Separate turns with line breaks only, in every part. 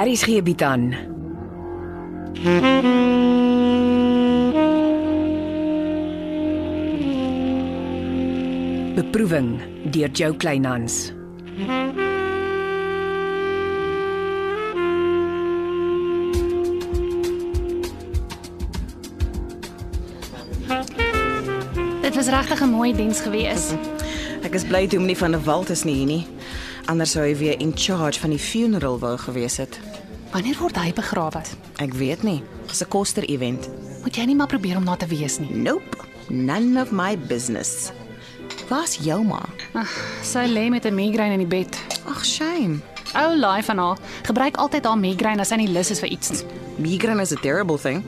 Aries gee bied aan. Beproeving deur Jo Kleinhans.
Dit was regtig 'n mooi diens gewees.
Ek is bly Dominee van der Walt is nie hier nie. Anders sou hy weer in charge van die funeral wou gewees het.
Wanneer word hy begrawe?
Ek weet nie. Dis 'n koster event.
Moet jy nie maar probeer om na te wees nie.
Nope. None of my business. Waar's jou ma?
Ag, sy lê met 'n migraine in die bed.
Ag, shame.
Ou laai van haar. Gebruik altyd haar migraine as sy nie lus is vir iets.
Migraine is a terrible thing.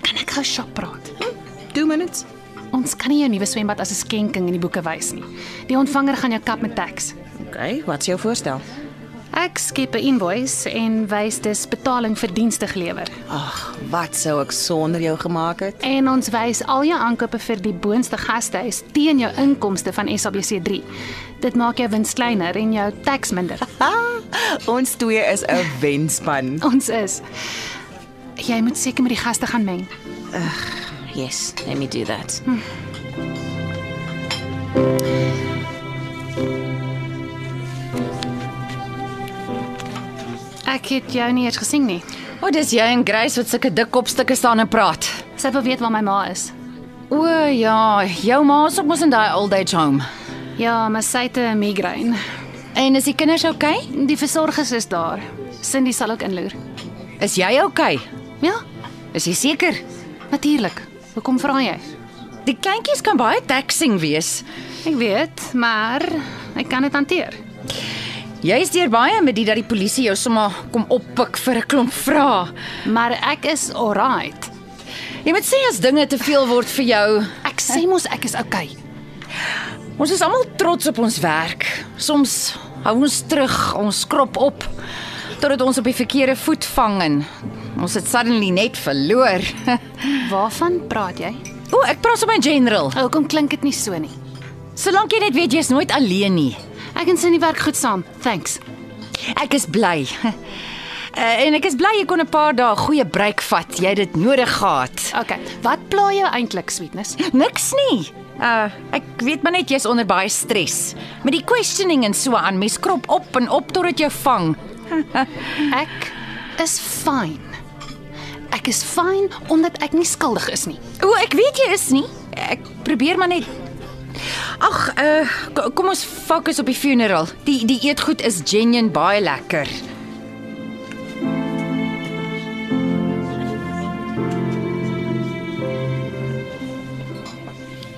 Kan ek gou shop praat?
2 minutes.
Ons kan nie jou nuwe swembad as 'n skenking in die boeke wys nie. Die ontvanger gaan jou kap met teks.
Okay, wat's jou voorstel?
Ek skep 'n invoice en wys dis betaling vir dienste gelewer.
Ag, wat sou ek sonder jou gemaak het?
En ons wys al jou aankope vir die boonste gastehuis teen jou inkomste van SABC3. Dit maak jou wins kleiner en jou teks minder.
Ha, ons twee is 'n wenspan.
Ons is. Jy moet seker met die gaste gaan meng.
Yes, let me do that.
Ek het jou nie eers gesien nie.
O, dis jy en Grace wat sulke dik kopstukke staan en praat.
Sy wil weet waar my ma is.
O ja, jou ma is ook mos in daai old age home.
Ja, maar sy het 'n migraine.
En is die kinders oukei? Okay?
Die versorgers is daar. Cindy sal ook inloer.
Is jy oukei? Okay?
Ja,
Is jy seker?
natuurlik. Hoekom vra jy?
Die kleintjies kan baie taxing wees.
Ek weet, maar ek kan dit hanteer.
Jy is deur baie met dit dat die polisie jou sommer kom oppik vir 'n klomp vrae.
Maar ek is alright.
Jy moet sê as dinge te veel word vir jou.
Ek sê mos ek is okay.
Ons is almal trots op ons werk. Soms hou ons terug, ons krop op totdat ons op die verkeerde voet vang en ons het suddenly net verloor.
Waarvan praat jy? Oh,
o, ek praat sommer in general.
Hoekom klink dit nie so nie?
Solank jy net weet jy's nooit alleen nie.
Ek en Cindy werk goed saam. Thanks.
Ek is bly. Uh, en ek is bly jy kon 'n paar dae goeie breek vat. Jy het dit nodig gehad.
Okay, wat pla jou eintlik, sweetness?
Niks nie. Uh, ek weet maar net jy's onder baie stres met die questioning en so aan. Mens krop op en op totdat jy vang.
Ek is fyn. Ek is fyn omdat ek nie skuldig is nie.
O, ek weet jy is nie. Ek probeer maar net Ag, uh, ko- kom ons fokus op die funeral. Die die eetgoed is genuen baie lekker.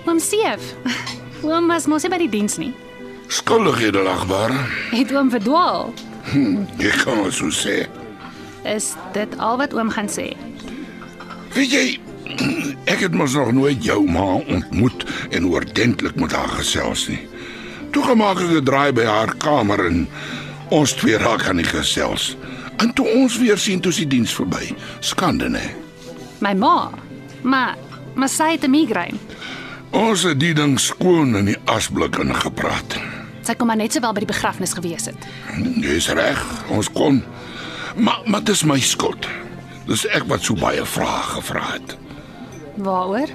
Oom Seef. Oom was mos nie by die diens nie.
Skuldighede lagbaar.
Het oom verdwaal.
Jy kan dit so sê.
Is dit al wat oom gaan sê?
Weet jy, ek het mos nog nooit jou ma ontmoet en oordentlik met haar gesels nie. Toe gemaak ek 'n draai by haar kamer en ons twee raak aan die gesels. En toe ons weer sien toe is die diens verby. Skande nee. nê.
My ma. Maar maar sy het 'n migraine.
Ons het die ding skoon in die asblik ingepraat.
Sy kon maar net sowel by die begrafnis gewees het.
Jy's reg, ons kon. Maar maar dit is my skuld. Dis ek wat so baie vrae gevra het.
Waaroor?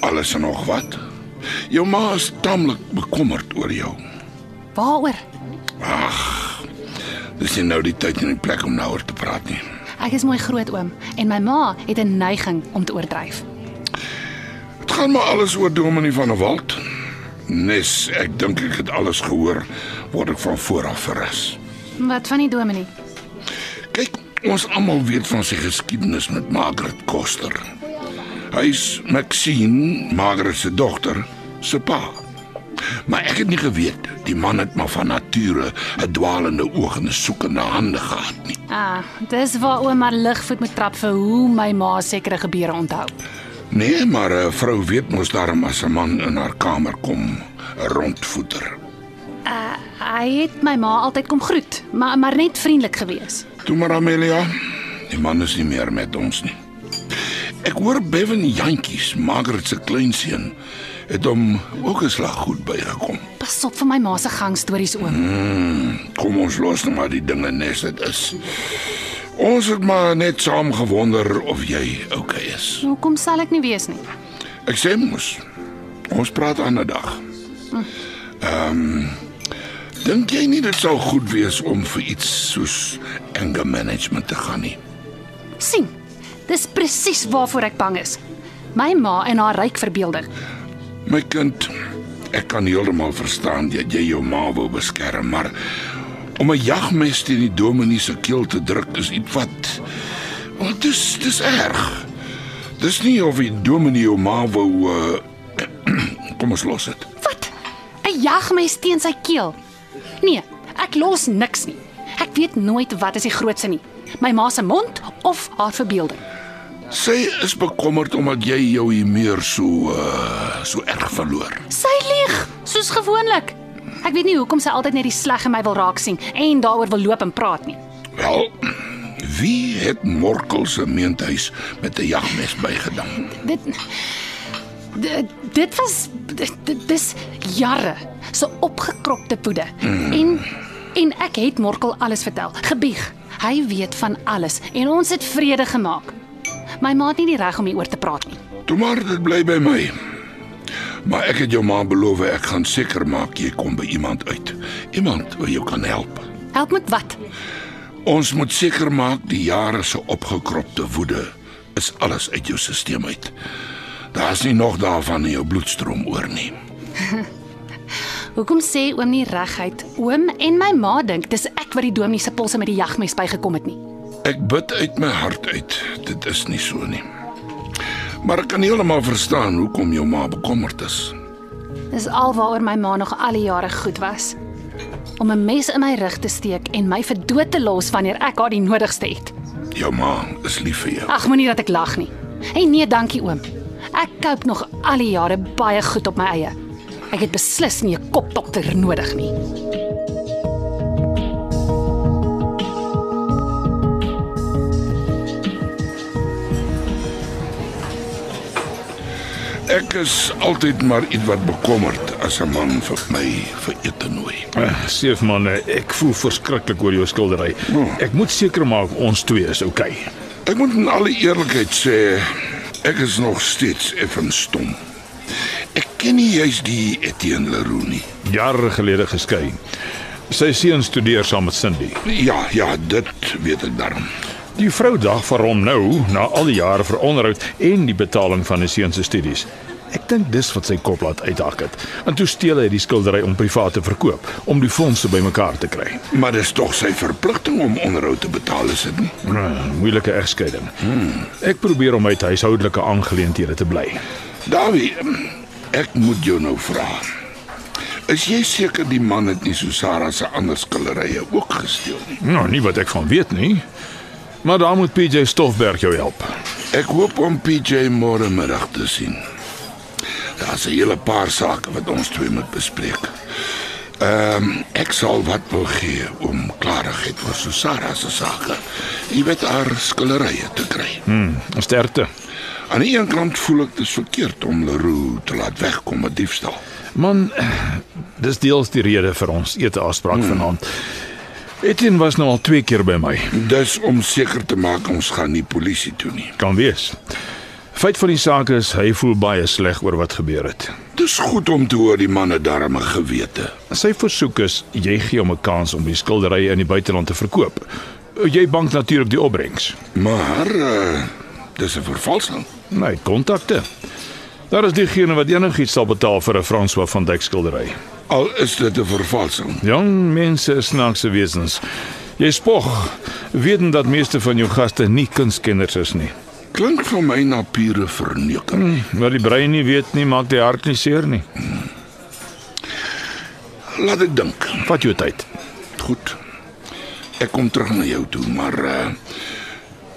Alles en nog wat? Jou ma is tamelik bekommerd oor jou.
Waaroor?
Dis nie nou die tyd en die plek om daaroor te praat nie.
Ek is mooi groot oom en my ma het 'n neiging om te oordryf.
Dit gaan maar alles oor Dominee van der Walt. Nes, ek dink ek het alles gehoor word ek van vooraf verras.
Wat van die dominee?
Kyk, ons almal weet van sy geskiedenis met Margaret Koster. Hy's Maxine, Margaret se dogter, se pa. Maar ek het nie geweet die man het maar van nature 'n dwaalende oog en 'n soekende hande gehad nie.
Ah, dis waar oom maar ligvoet moet trap vir hoe my ma sekere gebeure onthou.
Nee, maar 'n vrou weet mos daarom as 'n man in haar kamer kom, 'n rondvoeter.
Hy het my ma altyd kom groet, maar maar net vriendelik gewees.
Toe maar Amelia, die man is nie meer met ons nie. Ek hoor Bevan Jantjies, Margaret se kleinseun, het hom ook 'n slag goed bygekom.
Pas op vir my ma se gangstories oom.
Kom ons los nou maar die dinge nes dit is. Ons het maar net saam gewonder of jy okay is.
Hoekom Nou sal ek nie weet nie?
Ek sê mos. Ons praat ander dag. Ehm dink jy nie dit sou goed wees om vir iets soos anger management te gaan nie?
sien. Dis presies waarvoor ek bang is. My ma en haar ryk verbeelding.
My kind, ek kan heeltemal verstaan dat jy jou ma wou beskerm, maar om 'n jagmes teen die dominee se keel te druk is iets wat want dis dis erg. Dis nie of die dominee jou ma wou uh, kom ons los dit.
Wat? 'n Jagmes teen sy keel. Nee, ek los niks nie. Ek weet nooit wat is die grootste nie. My ma se mond of haar verbeelding.
Sy is bekommerd omdat jy jou humeur so uh, so erg verloor.
Sy lieg, soos gewoonlik. Ek weet nie hoekom sy altyd net die sleg in my wil raak sien en daaroor wil loop en praat nie.
Wel, wie het Morkel se meentuis met 'n jagmes bygedaan?
Dit dit, dit was dit, dit dis jare se opgekropte woede. Mm. En en ek het Morkel alles vertel, gebieg. Hy weet van alles en ons het vrede gemaak. My ma het nie die reg om hieroor te praat nie.
Toe maar dit bly by my. Maar ek het jou ma beloof ek gaan seker maak jy kom by iemand uit. Iemand wat jou kan help.
Help met wat?
Ons moet seker maak die jare se opgekropte woede is alles uit jou stelsel uit. Daar's nie nog daarvan in jou bloedstroom oor nie.
Hoekom sê oom nie reguit? Oom en my ma dink dis ek wat die dominee se polse met die jagmes bygekom het nie.
Ek bid uit my hart uit. Dit is nie so nie. Maar ek kan heeltemal verstaan hoekom jou ma bekommerd is.
Dis alwaaroor my ma nog al die jare goed was. Om 'n mes in my rug te steek en my vir dood te los wanneer ek haar die nodigste het.
Jou ma is lief vir jou.
Ag, moenie dat ek lag nie. En nee, dankie oom. Ek koop nog al die jare baie goed op my eie. Ek het beslis nie 'n kopdokter nodig nie.
Ek is altyd maar ietwat bekommerd as 'n man vir my vir ete nooi.
Eh, Seef man, eh, ek voel verskriklik oor jou skildery. Ek moet seker maak ons twee is okay.
Ek moet in alle eerlikheid sê, ek is nog steeds effens stom. Ek ken nie juis die Etienne Leroux nie.
Jare gelede geskei. Sy seun studeer saam met Cindy.
Ja, ja, dit weet ek daarom.
Die vrou dag vir hom nou na al die jare vir onderhoud en die betaling van 'n seun se studies. Ek dink dis wat sy kop laat uithak het. En toe steel hy die skildery om privaat te verkoop om die fondse bymekaar te kry.
Maar dis tog sy verpligting om onderhoud te betaal, is dit nie?
Nou, moeilike egskeiding. Ek probeer om uit huishoudelike aangeleenthede te bly.
Dawie, ek moet jou nou vra. Is jy seker die man het nie so Sarah se ander skilderye ook gesteel nie?
Nou, nie wat ek van weet nie. Maar daar moet PJ Stoffberg jou help.
Ek hoop om PJ môre middag te sien. Daar's 'n hele paar sake wat ons twee moet bespreek. Ehm um, ek sal wat wil gee om klarigheid oor Susara se sake. Jy weet haar skilderye te kry.
Hmm, sterkte.
Aan die een kant voel ek dit is verkeerd om Leroux te laat wegkom met diefstal.
Man, dis deels die rede vir ons ete afspraak hmm. vanaand. Etienne was nou al twee keer by my.
Dis om seker te maak ons gaan nie polisie toe nie.
Kan wees. Feit van die saak is hy voel baie sleg oor wat gebeur het.
Dis goed om te hoor die man het darme gewete.
Sy versoek is jy gee hom 'n kans om die skilderye in die buiteland te verkoop. Jy bank natuurlik die opbrengs.
Maar uh, dis 'n vervalsing.
My kontakte. Daar is diegene wat enigiets sal betaal vir 'n François van Dyk skildery.
Al is dit 'n vervalsing.
Jong mense is snaakse wesens. Jy spog, weten dat meeste van jou gaste nie kunskenners is nie.
Klink vir my na pure verneuking.
Wat die brein nie weet nie, maak die hart nie seer nie.
Laat ek dink.
Vat jou tyd.
Goed. Ek kom terug na jou toe, maar uh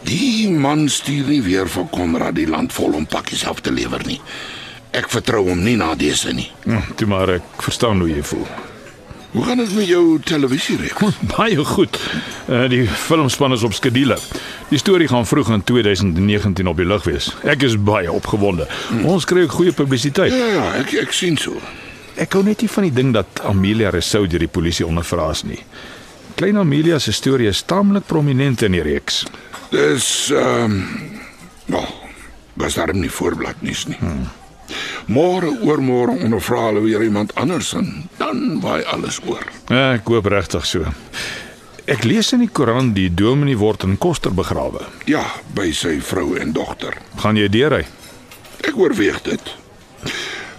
die man stuur nie weer vir Konrad die land vol om pakkies af te lewer nie. Ek vertrou hom nie na dese nie.
Hm, Toe maar ek verstaan hoe jy voel.
Hoe gaan dit met jou televisiereeks?
Baie goed. Uh, die filmspan is op skedule. Die storie gaan vroeg in 2019 op die lug wees. Ek is baie opgewonde. Ons kry ook goeie publisiteit.
Ja ja, ek ek sien so.
Ek hou net nie van die ding dat Amelia Resou deur die polisie ondervra is nie. Klein Amelia se storie is taamlik prominent in die reeks.
Dis ehm wel, was daarom nie voorblad nuus nie. Môre oormôre ondervra hulle weer iemand anders en dan waai alles oor.
Ja, ek koop regtig so. Ek lees in die koerant die dominee word in Koster begrawe.
Ja, by sy vrou en dogter.
Gaan jy deurry?
Ek oorweeg dit.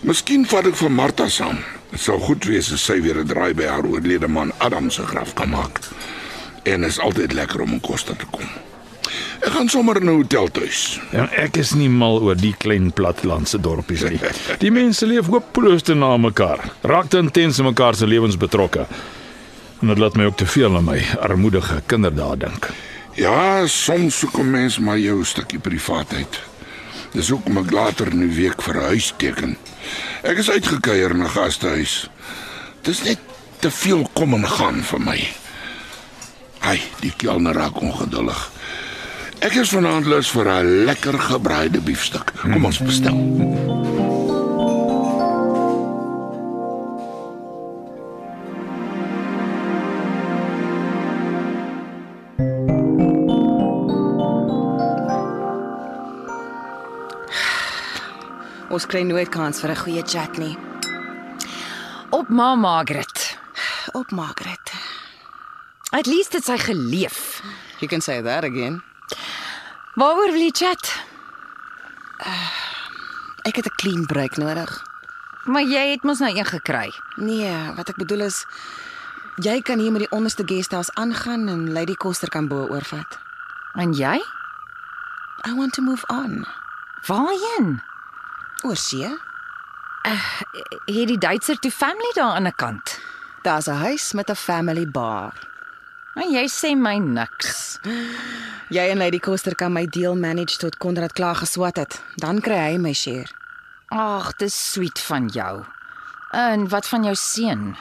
Miskien vat ek vir Martha saam. Dit sou goed wees as sy weer 'n draai by haar oorlede man Adam se graf kan maak. En is altyd lekker om in Koster te kom. Ek gaan sommer in 'n hotel tuis.
Ja, ek is nie mal oor die klein plattelandse dorpies nie. Die mense leef hopeloos te na mekaar. Raak te intens in mekaar se lewens betrokke. En dit laat my ook te veel aan my armoedige kinderdae dink.
Ja, soms soek 'n mens maar jou stukkie privaatheid. Dis hoekom ek later in die week vir 'n huis teken. Ek is uitgekuier na gastehuis. Dis net te veel kom en gaan vir my. Ai, die kelner raak ongeduldig. Ek is vanaand lus vir 'n lekker gebraaide biefstuk. Kom ons bestel.
Ons kry nooit kans vir 'n goeie chat nie.
Op ma Margaret.
Op Margaret.
At least dit sy geleef.
You can say that again.
Waaroor wil jy chat?
Ek het 'n clean break nodig.
Maar jy het mos nou een gekry.
Nee, wat ek bedoel is jy kan hier met die onderste guesthouse aangaan en Lady Koster kan bo oorvat.
En jy?
I want to move on.
Waarheen?
Oor see.
Het die Duitser toe family daar aan 'n kant?
Daar's 'n huis met 'n family bar.
En jy sê my niks.
Jy en Lady Koster kan my deel manage tot Konrad klaar geswat het. Dan kry hy my share.
Ag, dis sweet van jou. En wat van jou seun?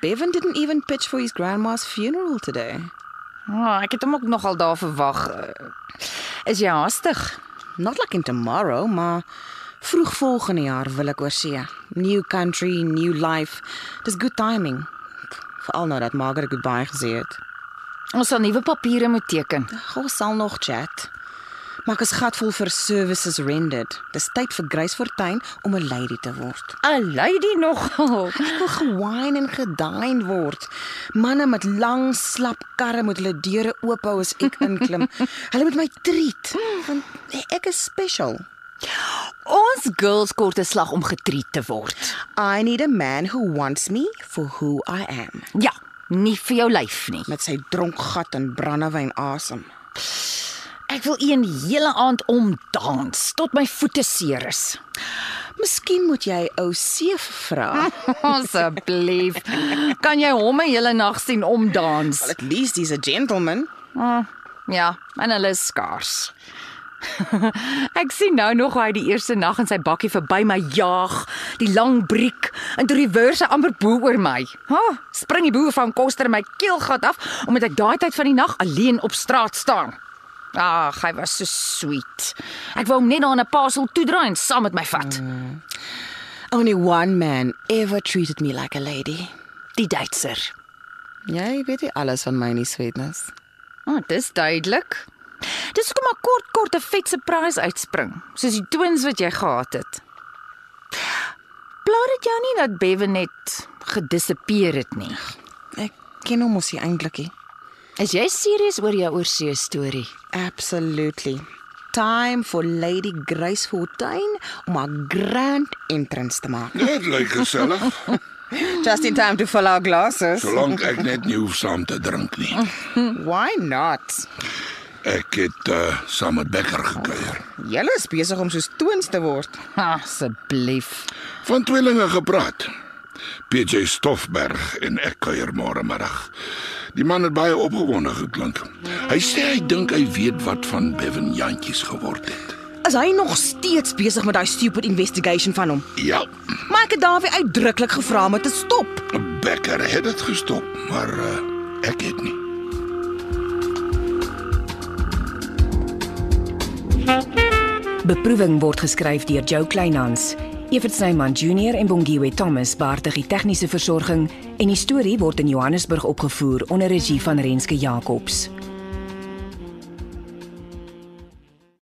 Bevan didn't even pitch for his grandma's funeral today.
Oh, ek het hom ook nogal daar verwag. Eh, Is jy haastig?
Not like in tomorrow, maar vroeg volgende jaar wil ek oor see. New country, new life. Dis good timing. Veral nou dat Margaret goodbye gesê het.
Ons sal nuwe papiere moet teken.
Ons sal nog chat. Maar ek is gatvol vir services rendered. Dis tyd vir Grace Fortuin om 'n lady te word.
'n Lady nogal.
Ek wil gewine en gedine word. Manne met lang slap karre moet hulle deure oop hou as ek inklim. hulle moet my treat want ek is special.
Ons girls kort 'n slag om getriet te word.
I need a man who wants me for who I am.
Ja, nie vir jou lyf nie.
Met sy dronk gat en brandewyn asem.
Ek wil een hele aand omdans tot my voete seer is.
Miskien moet jy ou Seef vra.
Asseblief. Kan jy hom 'n hele nag sien omdans?
At least he's a gentleman.
Ja, en hulle is skaars. Ek sien nou nog hoe hy die eerste nag in sy bakkie verby my jaag, die lang briek en toe die reverse amper bo oor my. Ha, oh, spring die boer van Koster my keelgat af omdat ek daai tyd van die nag alleen op straat staan. Ag, hy was so sweet. Ek wou hom net daar in 'n pasel toedraai en saam met my vat.
Only one man ever treated me like a lady.
Die Duitser.
Jy weet nie alles van my nie, sweetness.
O, oh, dis duidelik. Dis hoekom 'n kort kort 'n vet surprise uitspring, soos die twins wat jy gehad het. Plaat dit jou nie dat Bevan net gedissepeer het nie.
Ek ken hom mos nie eintlik nie.
Is jy serieus oor jou oorsee storie?
Absolutely. Time for Lady Grace Fortuin om haar grand entrance te maak.
Dit lyk gesellig,
Just in time to fill our glasses.
solank ek net nie hoef saam te drink nie.
Why not?
Ek het uh, saam met Becker gekuier.
Julle is besig om soos toons te word.
Asseblief.
Van tweelinge gepraat. PJ Stoffberg en ek kuier môre middag. Die man het baie opgewonde geklink. Hy sê hy dink hy weet wat van Bevan Jantjies geword het.
Is hy nog steeds besig met daai stupid investigation van hom?
Ja,
Maar ek het Dawie uitdruklik gevra om dit te stop.
Becker het dit gestop, maar uh, ek het nie.
Beproeving word geskryf deur Jo Kleinhans. Evert Snyman Junior en Bongwe Thomas baartig die tegniese versorging en die storie word in Johannesburg opgevoer onder regie van Renske Jacobs.